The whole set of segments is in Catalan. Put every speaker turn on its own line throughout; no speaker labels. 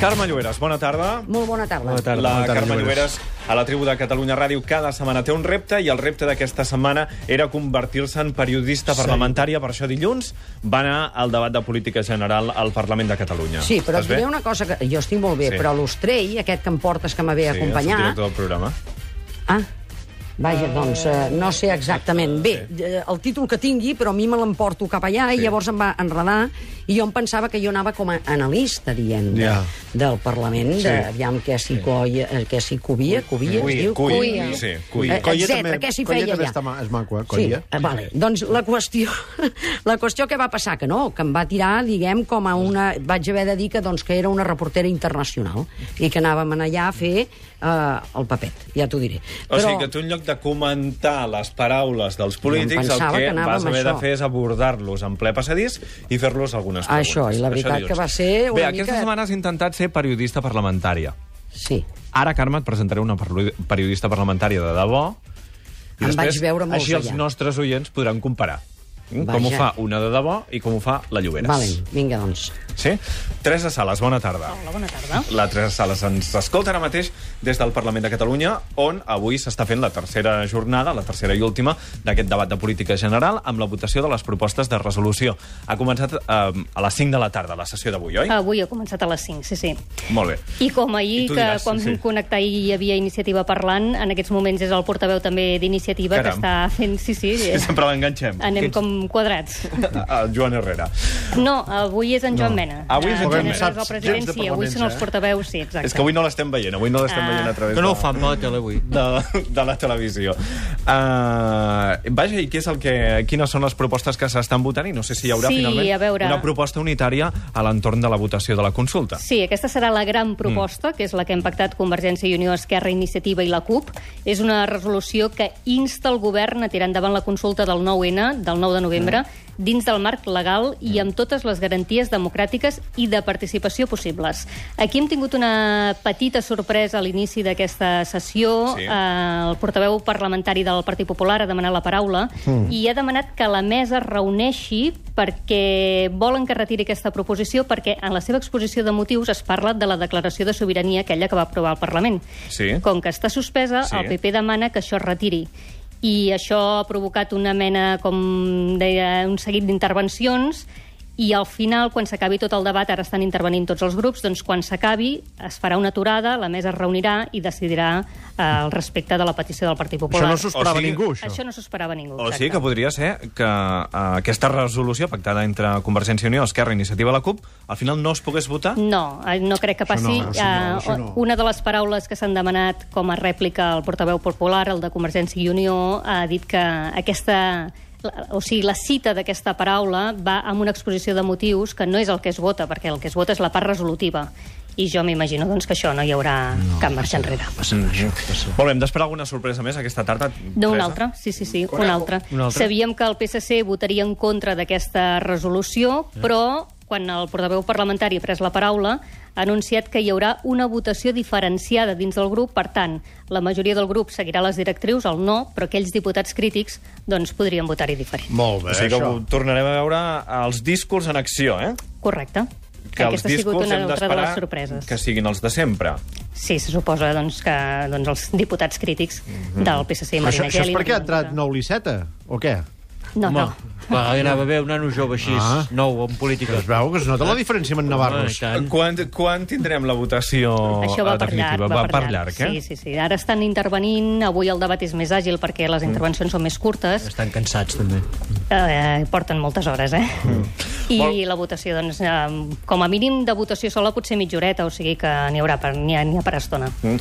Carme Lloberes, bona tarda.
Molt bona tarda.
Bona tarda.
La
bona tarda,
Carme Lloberes. a la tribu de Catalunya Ràdio cada setmana té un repte i el repte d'aquesta setmana era convertir-se en periodista parlamentària. Per això dilluns va anar al debat de política general al Parlament de Catalunya.
Sí, però et
Estàs bé?
diré una cosa que... Jo estic molt bé,
Sí.
sí. però l'Ostrell, aquest que em portes que m'havia
Sí, el
acompanyat...
subdirector del programa.
Ah, Vaja, doncs, eh, no sé exactament. Bé, eh, el títol que tingui, però a mi me l'emporto cap allà
Sí.
i llavors em va enredar i jo em pensava que jo anava com a analista, dient, de,
Ja.
del Parlament,
Sí.
de, aviam què s'hi coia, eh, què s'hi covia, covia, es diu?
Cui.
Cuia.
Sí,
Cui.
Cui.
Eh,
Colla
etcètera,
també-
què s'hi
Colla
feia
també
allà?
està ma- és maco, eh, Colla?
Sí, eh, vale. Doncs la qüestió, la qüestió que va passar, que no, que em va tirar, diguem, com a una... Vaig haver de dir que, doncs, que era una reportera internacional i que anàvem allà a fer eh, el papet, ja t'ho diré.
O sigui que tu, en lloc de comentar les paraules dels polítics, el
pensava
que,
que anava
vas
amb
haver de
això.
fer és abordar-los en ple passadís i fer-los algunes preguntes.
Això, i la veritat
dius.
que va ser una
Bé,
mica-
aquesta setmana has intentat ser periodista parlamentària.
Sí.
Ara, Carme, et presentaré una perlu- periodista parlamentària de debò. I
Em
després,
vaig veure molts
Així els
allà.
nostres oients podran comparar mm,
Vaja.
com ho fa una de debò i com ho fa la Lloberes.
Vale, vinga, doncs.
Sí? Teresa Sales, bona tarda.
Hola, bona tarda.
La Teresa Sales ens escolta ara mateix des del Parlament de Catalunya, on avui s'està fent la tercera jornada, la tercera i última, d'aquest debat de política general amb la votació de les propostes de resolució. Ha començat eh, a les 5 de la tarda, la sessió d'avui, oi?
Ah, Avui ha començat a les 5, sí, sí.
Molt bé.
I com ahir,
I tu
que
diràs,
quan
sí.
vam connectar ahir hi havia Iniciativa parlant, en aquests moments és el portaveu també d'Iniciativa que
Caram.
està fent... Sí, sí,
Sí, sempre l'enganxem.
eh, anem
Aquests-
com quadrats.
El Joan Herrera.
No, avui és en Joan Mena.
Avui és en
Eh,
Joan
Joan
Mena.
Herrera és el
Gens
president,
de
sí, avui
parlaments,
són els
eh?
portaveus, sí, exacte.
És que avui no l'estem veient, avui no l'estem
Ah.
veient a través
No, no ho
de-
fan per la tele, avui.
de, de la televisió. Uh, vaja, i què és el que, quines són les propostes que s'estan votant? I no sé si hi haurà
Sí,
finalment
a veure.
una proposta unitària a l'entorn de la votació de la consulta.
Sí, aquesta serà la gran proposta, que és la que han pactat Convergència i Unió, Esquerra, Iniciativa i la CUP. És una resolució que insta el govern a tirar endavant la consulta del 9-N, del 9 de novembre, dins del marc legal i amb totes les garanties democràtiques i de participació possibles. Aquí hem tingut una petita sorpresa a l'inici d'aquesta sessió.
Sí.
Eh, el portaveu parlamentari del Partit Popular ha demanat la paraula i ha demanat que la mesa es reuneixi perquè volen que retiri aquesta proposició perquè en la seva exposició de motius es parla de la declaració de sobirania aquella que va aprovar el Parlament.
Sí.
Com que està suspesa,
Sí.
el PP demana que això es retiri. I això ha provocat una mena, com deia, un seguit d'intervencions i al final, quan s'acabi tot el debat, ara estan intervenint tots els grups, doncs quan s'acabi es farà una aturada, la mesa es reunirà i decidirà eh, al respecte de la petició del Partit
Això
Popular.
no s'ho esperava
O sigui-
ningú,
Això no s'ho esperava ningú.
O
exacte.
sigui que podria ser que uh, aquesta resolució pactada entre Convergència i Unió, Esquerra, Iniciativa i la CUP, al final no es pogués votar?
No, eh, no crec que passi.
no, això no,
Eh,
això no.
Una de les paraules que s'han demanat com a rèplica al portaveu popular, el de Convergència i Unió, ha dit que aquesta la- o sigui, la cita d'aquesta paraula va amb una exposició de motius que no és el que es vota, perquè el que es vota és la part resolutiva. I jo m'imagino doncs, que això no hi haurà no, cap marxa enrere.
Molt bé, hem d'esperar alguna sorpresa més aquesta tarda.
D'un
Teresa?
altre, sí, sí, sí, un altre.
Un altre.
Sabíem que el PSC votaria en contra d'aquesta resolució,
Eh.
però quan el portaveu parlamentari ha pres la paraula, ha anunciat que hi haurà una votació diferenciada dins del grup, per tant, la majoria del grup seguirà les directrius, el no, però aquells diputats crítics doncs, podrien votar-hi diferent.
Molt
O
bé,
sigui que
això.
ho tornarem a veure els discurs en acció, eh?
Correcte.
Que
Aquesta ha
els
sigut
discurs
una
hem
altra de les
d'esperar
sorpreses.
que siguin els de sempre.
Sí, se suposa doncs, que doncs, els diputats crítics del PSC...
Mhm. Però això,
Marina
això és
Geli,
perquè ha
Marina
entrat nou Liceta, o què?
No, no.
Va, hi anava bé un nano jove així,
Ah.
nou, en política.
Es veu que es nota la diferència amb en
Ah,
Navarros.
i tant.
Quan, quan tindrem la votació
Això va
eh,
per llarg,
definitiva?
va,
va per llarg, eh?
Sí, sí, sí. Ara estan intervenint, avui el debat és més àgil perquè
Mm.
les intervencions són més curtes,
Estan cansats, també.
eh, porten moltes hores, eh?
Mm.
I la votació, doncs, eh, com a mínim de votació sola pot ser mitjoreta, o sigui que n'hi haurà per, n'hi ha, n'hi ha per estona.
Mm.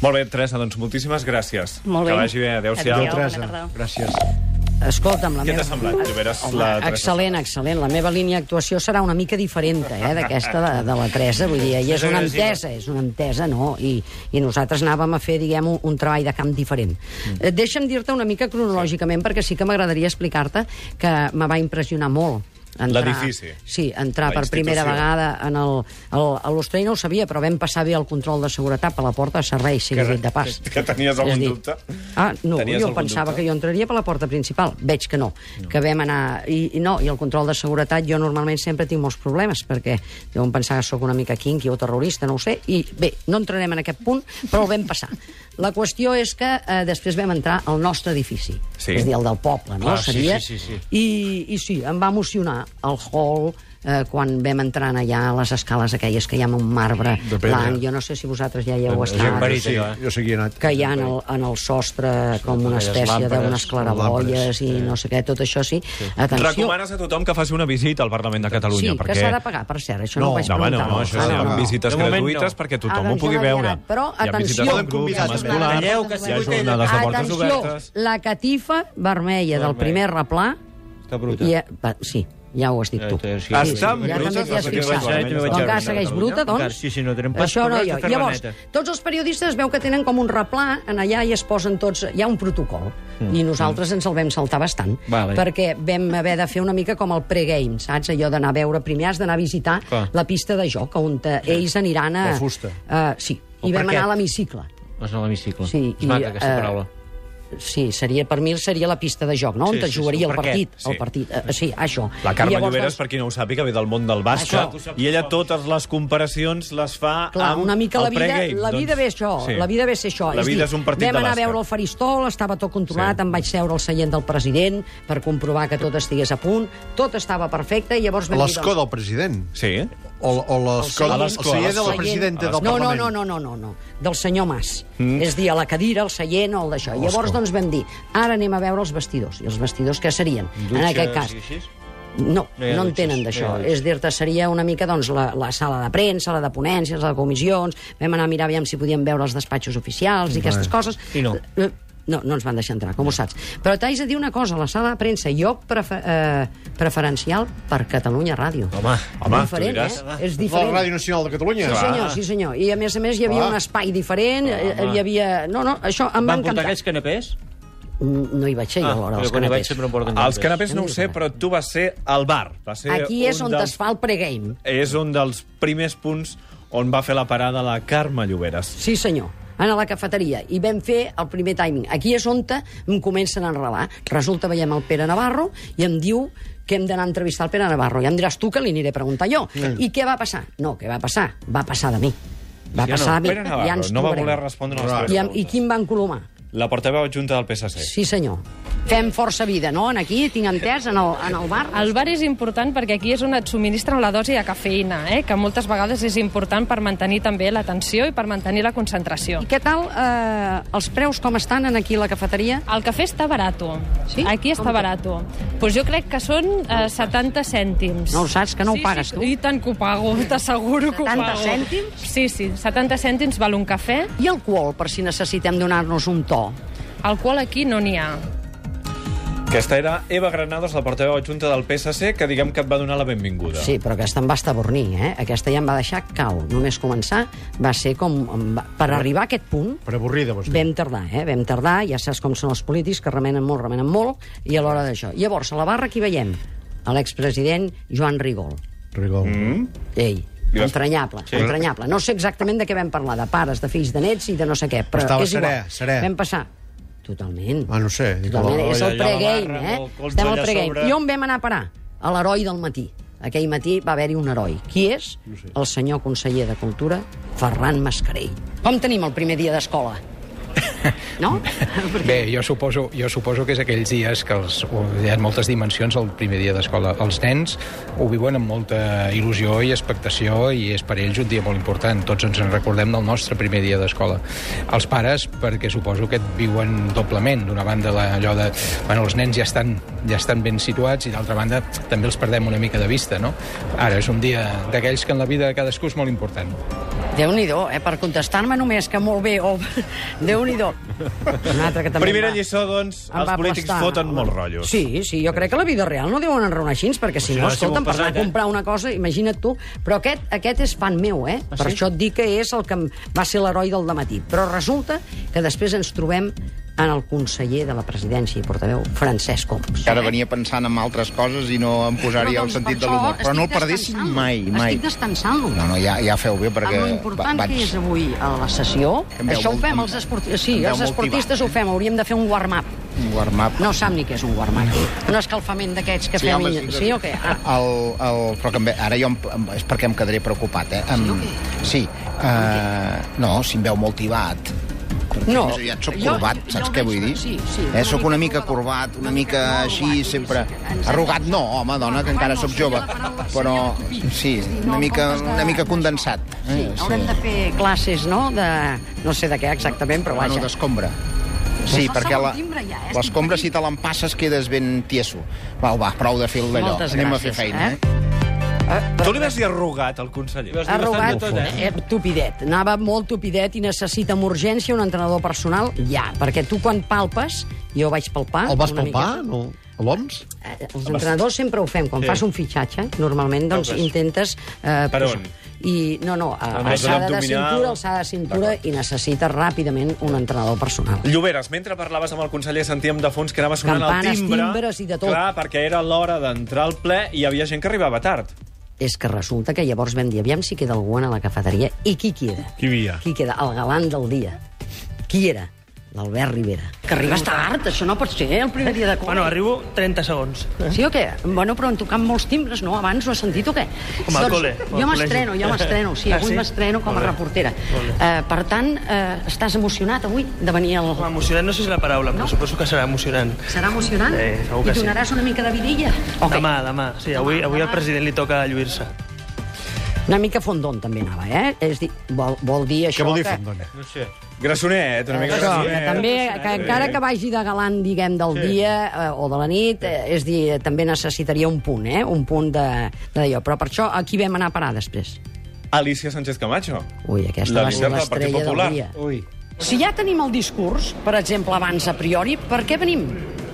Molt bé, Teresa, doncs moltíssimes gràcies.
Molt bé.
Que vagi bé, adéu-siau.
Adéu.
Teresa,
Bona tarda.
gràcies.
Escolta'm, la
Què
meva...
t'ha semblat, Lloberes,
Home,
la Teresa?
excel·lent, excel·lent. La meva línia d'actuació serà una mica diferent, eh, d'aquesta de, de la Teresa. Vull dir, i és una entesa, és una entesa, no? I, i nosaltres anàvem a fer, diguem, un, un treball de camp diferent. Mm. Deixa'm dir-te una mica cronològicament, perquè sí que m'agradaria explicar-te que me va impressionar molt entrar-
L'edifici.
Sí, entrar
La
per primera
institució.
vegada en el, el, a l'Ostrell no ho sabia, però vam passar bé el control de seguretat per la porta de servei, sigui dit de pas.
que- que tenies algun
És a dir,
dubte?
Ah, no,
Tenies
jo
algun
pensava
dubte?
que jo entraria per la porta principal. Veig que no, no. que vam anar... I, I no, i el control de seguretat jo normalment sempre tinc molts problemes, perquè deuen pensar que sóc una mica kinky o terrorista, no ho sé, i bé, no entrarem en aquest punt, però el vam passar. La qüestió és que eh, després vam entrar al nostre edifici,
Sí.
és a dir, el del poble, no?
Clar, sí,
Seria...
sí, sí, sí.
I, I sí, em va emocionar el hall eh, quan vam entrar allà a les escales aquelles que hi ha amb un marbre
De pedra.
blanc. Jo no sé si vosaltres ja hi heu
Gent
estat
verit,
sí,
allò, eh?
jo seguia anat.
que hi ha en el, en el sostre com una
aquelles
espècie
làmpades,
d'unes claraboies
làmpades,
i no sé què, tot això sí. Atenció,
Recomanes a tothom que faci una visita al Parlament de Catalunya.
sí,
perquè...
que s'ha de pagar, per cert, això no,
No,
ho vaig
No, home, no,
preguntar.
no, això
Ah,
sí,
no,
amb
no.
visites
De moment,
gratuïtes
no.
perquè
Ara,
tothom ho
doncs
pugui
ja l'havia
veure.
anat, però
Hi ha visites
atenció.
en grup,
Convidats
amb
a
escolars,
Calleu,
hi ha
que sí.
jornades de portes
Atenció,
obertes...
la catifa vermella del
Vermella.
primer replà...
Està bruta.
I, va, sí, ja ho has dit tu.
Eh, sí,
Sí,
Està
sí, ja
bruta,
també t'hi has
sí,
fixat.
sí, també vaig
Com
veure.
que segueix bruta,
Encara,
doncs...
sí, sí, no tenen pas
Això no
correcte
jo.
fer la
Llavors,
neta.
tots els periodistes veu que tenen com un replà en allà i es posen tots... Hi ha un protocol. I nosaltres ens el vam saltar bastant.
Vale.
Perquè vam haver de fer una mica com el pregame, saps? Allò d'anar a veure... Primer has d'anar a visitar
Clar.
la pista de joc, on eh, ells aniran a...
La fusta.
Eh, sí.
El
I vam
parquet.
anar a l'hemicicle.
És a l'hemicicle.
Sí,
és maca,
i,
aquesta
eh,
paraula.
Sí, seria, per mi seria la pista de joc, no?
Sí,
on
sí,
es
sí,
jugaria
el
el
parquet,
partit.
sí.
El partit, eh, sí, això.
La Carme
I llavors, doncs-
Lloberes, per qui no ho sàpiga, ve del món del bàsquet,
Això.
i ella totes les comparacions les fa
Clar,
amb
una mica
el
la vida,
pregame.
la vida
Doncs,
ve això, sí. la vida ve ser això.
La vida és un partit de
vam anar a
bàsquet.
veure el faristol, estava tot
Sí.
controlat, sí. em vaig seure al seient del president per comprovar que tot estigués a punt, tot estava perfecte, i llavors vam doncs,
L'escó del president.
Sí,
O, o l'escó
seient.
del- el
L'escó,
seient de la
l'escó.
presidenta del
no,
Parlament.
No, no, no, no, no, no, del senyor Mas. Mm. És a dir, a la cadira, el seient o el d'això. Llavors, doncs, vam dir, ara anem a veure els vestidors. I els vestidors què serien? en aquest cas,
Sí, així?
No,
No
no,
hi ha
no en
dutxes,
tenen
no
d'això.
hi ha dutxes.
és a dir-te, seria una mica doncs, la, la sala de premsa, la de ponències, la de comissions, vam anar a mirar aviam si podíem veure els despatxos oficials i aquestes coses.
I no.
Eh, No, no ens van deixar entrar, com ho saps. Però t'haig de dir una cosa, la sala de premsa, lloc prefe eh, preferencial per Catalunya Ràdio.
Home,
home,
diferent,
tu diràs.
eh? És
La
diferent.
Ràdio Nacional de Catalunya.
Sí, senyor, sí, senyor. I a més a més hi havia
Clar.
un espai diferent, eh, hi havia... No, no, això em va
Van
encantar.
portar aquells canapers?
Mm, No hi vaig ser jo, alhora,
però
als
quan hi vaig
canapés.
sempre em porten
els
canapés.
canapés no ho sé, però tu vas ser al bar. Va ser
eh? Aquí és
un
on
dels-
es fa el pregame.
És un dels primers punts on va fer la parada la Carme Lloberes.
Sí, senyor anar a la cafeteria i vam fer el primer timing. Aquí és on em comencen a enrelar. Resulta, veiem el Pere Navarro i em diu que hem d'anar a entrevistar el Pere Navarro. I em diràs tu que li aniré a preguntar jo. I què va passar? No, què va passar? Va passar de mi. Va
Sí o no?
passar de mi.
Pere Navarro
ja ens
no va
trobarem.
voler respondre a les teves
I, em- I
preguntes.
qui em va encolomar?
La portaveu adjunta del PSC.
Sí, senyor. Fem força vida, no? En aquí, tinc entès, en el, en el bar.
El bar és important perquè aquí és on et subministren la dosi de cafeïna, eh? que moltes vegades és important per mantenir també l'atenció i per mantenir la concentració.
I què tal eh, els preus com estan en aquí a la cafeteria?
El cafè està barato.
Sí?
Aquí
Com
està
que?
barato. Pues jo crec que són eh, 70 cèntims.
No ho saps, que no ho pagues,
sí,
tu?
I tant que ho pago, t'asseguro que ho
70
pago.
cèntims?
Sí, sí, 70 cèntims val un cafè,
I alcohol, per si necessitem donar-nos un to?
el qual aquí no n'hi ha.
Aquesta era Eva Granados, la portaveu adjunta del PSC, que diguem que et va donar la benvinguda.
Sí, però aquesta em va estabornir, eh? Aquesta ja em va deixar cau. Només començar va ser com... em va- Per arribar a aquest punt
Per Ah, avorrida, vostè.
vam tardar, eh? Vam tardar, ja saps com són els polítics, que remenen molt, remenen molt, i a l'hora d'això. Llavors, a la barra qui veiem? A l'expresident Joan Rigol.
Rigol. Mm?
Ei,
I vas-
entranyable, sí. entranyable. No sé exactament de què vam parlar, de pares, de fills, de nets i de no sé què, però
Estava
és igual.
serè, serè.
Vam passar totalment.
Ah, no sé, dic,
Totalment,
la-
és el
la- la
pregame,
barra,
eh?
el colze
Estem al
allà
pregame.
sobre.
I on vam anar a parar? A l'heroi del matí. Aquell matí va haver-hi un heroi. Qui és? El senyor conseller de Cultura, Ferran Mascarell. Com tenim el primer dia d'escola? No?
Bé, jo suposo, jo suposo que és aquells dies que els, o hi ha moltes dimensions el primer dia d'escola. Els nens ho viuen amb molta il·lusió i expectació i és per ells un dia molt important. Tots ens en recordem del nostre primer dia d'escola. Els pares, perquè suposo que et viuen doblement. D'una banda, la, allò de... Bueno, els nens ja estan, ja estan ben situats i d'altra banda també els perdem una mica de vista, no? Ara és un dia d'aquells que en la vida de cadascú és molt important.
Déu-n'hi-do, eh? Per contestar-me només que molt bé o... Déu-n'hi-do. Un altre que també em
Primera
va-
lliçó, doncs,
Em
els
va
polítics
aplastar,
foten
home.
molts rotllos.
Sí, sí, jo crec que a la vida real no deuen enraonar així, perquè si
si
no,
no, si
escolta'm,
m'ho
per anar a
passat, eh?
comprar una cosa, imagina't tu. Però aquest, aquest és fan meu, eh?
Ah,
per això et dic que és el que em va ser l'heroi del dematí. Però resulta que després ens trobem en el conseller de la presidència i portaveu, Francesc Homs.
Que ara venia pensant en altres coses i no em
Però,
posaria
doncs,
el sentit
per
de l'humor.
això
Però no el
estic
perdessin
descansant-lo.
mai, mai.
Estic descansant-lo.
No, no, ja, ja feu bé perquè...
Perquè amb lo important
va-
que és avui a la sessió,
Em veu
això ho
molt-
fem
em-
els esportistes, sí,
em veu
els
molt
esportistes ho
tibat.
fem, hauríem de fer un warm-up.
Un warm-up.
No sap ni què és un warm-up. Un escalfament d'aquests que
Sí,
fem...
home,
i-
sí, Eh,
sí o què? Ah.
El, el, però que em ve, ara jo em, em, és perquè em quedaré preocupat, eh? Em, sí, eh, no, si em veu molt tibat. Perquè
No.
Més aviat soc
Jo-
corbat,
jo
saps
el
què
veig-
vull dir?
sí, sí,
eh,
una
soc una
mica
mica
corbat.
corbat, una mica
Una mica
així,
arrugat,
sempre...
sí, que ens hem-
Arrugat no, home, dona, que encara sóc jove. Però, sí, una mica, una mica condensat.
Sí,
Eh,
haurem de fer classes, no?, de... No sé de què exactament, però
Bueno,
vaja.
d'escombra. Sí,
Això
perquè
segon
la-
timbre ja, eh?
l'escombra, si te l'empasses, quedes ben tieso. Va, va, prou de fer el d'allò.
Moltes
Anem a fer
gràcies,
feina,
eh?
eh?
Tu li vas dir arrugat al conseller?
Ha robat
Tot, eh?
eh, tupidet. Anava molt tupidet i necessita amb urgència un entrenador personal ja. Perquè tu quan palpes, jo vaig palpar...
El vas
una
palpar?
miqueta.
No? A l'OMS?
Eh, Els entrenadors sempre ho fem. Quan fas un fitxatge, normalment doncs, intentes... Eh,
Per
posar-
on?
I, no, no, a-
la zona
alçada de
abdominal.
cintura, alçada de cintura, i necessites ràpidament un entrenador personal.
Lloberes, mentre parlaves amb el conseller sentíem de fons que anava sonant el
Campanes,
timbre.
timbres i de tot.
Clar, perquè era l'hora d'entrar al ple i hi havia gent que arribava tard.
És que resulta que llavors vam dir, aviam si queda algú a la cafeteria. I qui queda?
Qui hi havia?
Qui queda? El galant del dia. Qui era? L'Albert Rivera. Que arribes tard, això no pot ser, el primer dia de col·le.
Bueno, arribo 30 segons.
Sí o què? Bueno, però han tocat molts timbres, no? Abans ho has sentit o què? Doncs
Com al col·le, o al
Jo
col·legi.
m'estreno, jo m'estreno. Sí,
Ah,
avui
sí?
m'estreno com a
Molt bé.
reportera.
Molt bé.
Eh, per tant, eh, estàs emocionat avui de venir al...
Home, emocionant no sé si és la paraula, però
No?
suposo que serà emocionant.
Serà emocionant?
Eh, segur que
I
sí.
donaràs una mica de vidilla? O què?
Demà, demà. Sí, avui,
Demà,
avui al
demà.
president li toca lluir-se.
Una mica fondon també anava, eh? És dir, vol, vol dir això
Què vol dir,
que...
Fondon?
Grassonet, una mica
Això, que
grassonet.
també, que encara que vagi de galant, diguem, del dia eh, o de la nit, eh, és dir, també necessitaria un punt, eh? Un punt de, de d'allò. Però per això aquí vam anar a parar després.
Alicia Sánchez Camacho.
Ui, aquesta
La
va ser
líder del Partit
l'estrella del
Popular.
dia.
Ui.
Si ja tenim el discurs, per exemple, abans a priori, per què venim?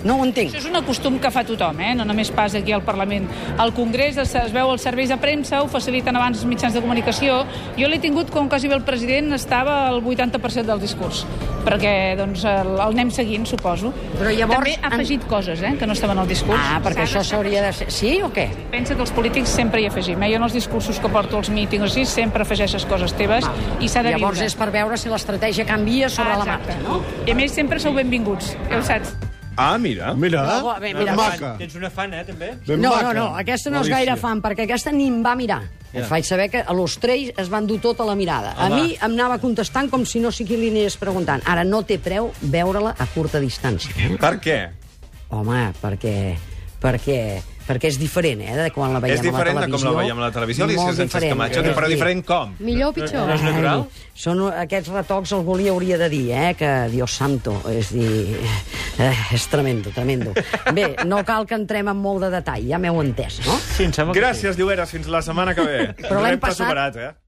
No ho entenc.
Això és un costum que fa tothom, eh? no només pas aquí al Parlament. Al Congrés es, es veu els serveis de premsa, ho faciliten abans els mitjans de comunicació. Jo l'he tingut com quasi bé el president estava al 80% del discurs, perquè doncs, el, el anem seguint, suposo.
Però llavors-
També ha afegit coses eh, que no estaven al discurs.
Ah, perquè
S'ha
això
de-
s'hauria de ser... Sí o què?
Pensa que els polítics sempre hi afegim. Eh? Jo en els discursos que porto als mítings així sempre afegeixes coses teves i s'ha de
Llavors
viure. Ah,
és per veure si l'estratègia canvia
Ah,
sobre la marxa,
Exacte.
no?
I a més sempre sou benvinguts, ja ho saps.
Ah, mira.
Mira, eh?
No, bé, mira,
ben maca.
Tens una fan, eh, també?
Ben
No,
maca.
no, no, aquesta no és gaire fan, perquè aquesta ni em va mirar. Ja. Et faig saber que a los tres es van dur tota la mirada. a mi em anava contestant com si no sé qui li anés preguntant. Ara no té preu veure-la a curta distància.
Per què?
Home, perquè... perquè perquè és diferent, eh, de quan la veiem
és diferent
a la
de com
televisió.
la veiem a la televisió, Alicia
Molt
Sánchez
diferent,
Camacho,
és
però
dir,
diferent com?
Millor o pitjor?
No és natural?
Ai, Són aquests retocs, algú li hauria de dir, eh, que Dios santo, és dir... Eh, és tremendo, tremendo. Bé, no cal que entrem en molt de detall, ja m'heu entès, no?
Sí, em sembla que sí.
Gràcies, Lloberes, fins la setmana que ve.
Però l'hem
Repte
passat-
superat, eh?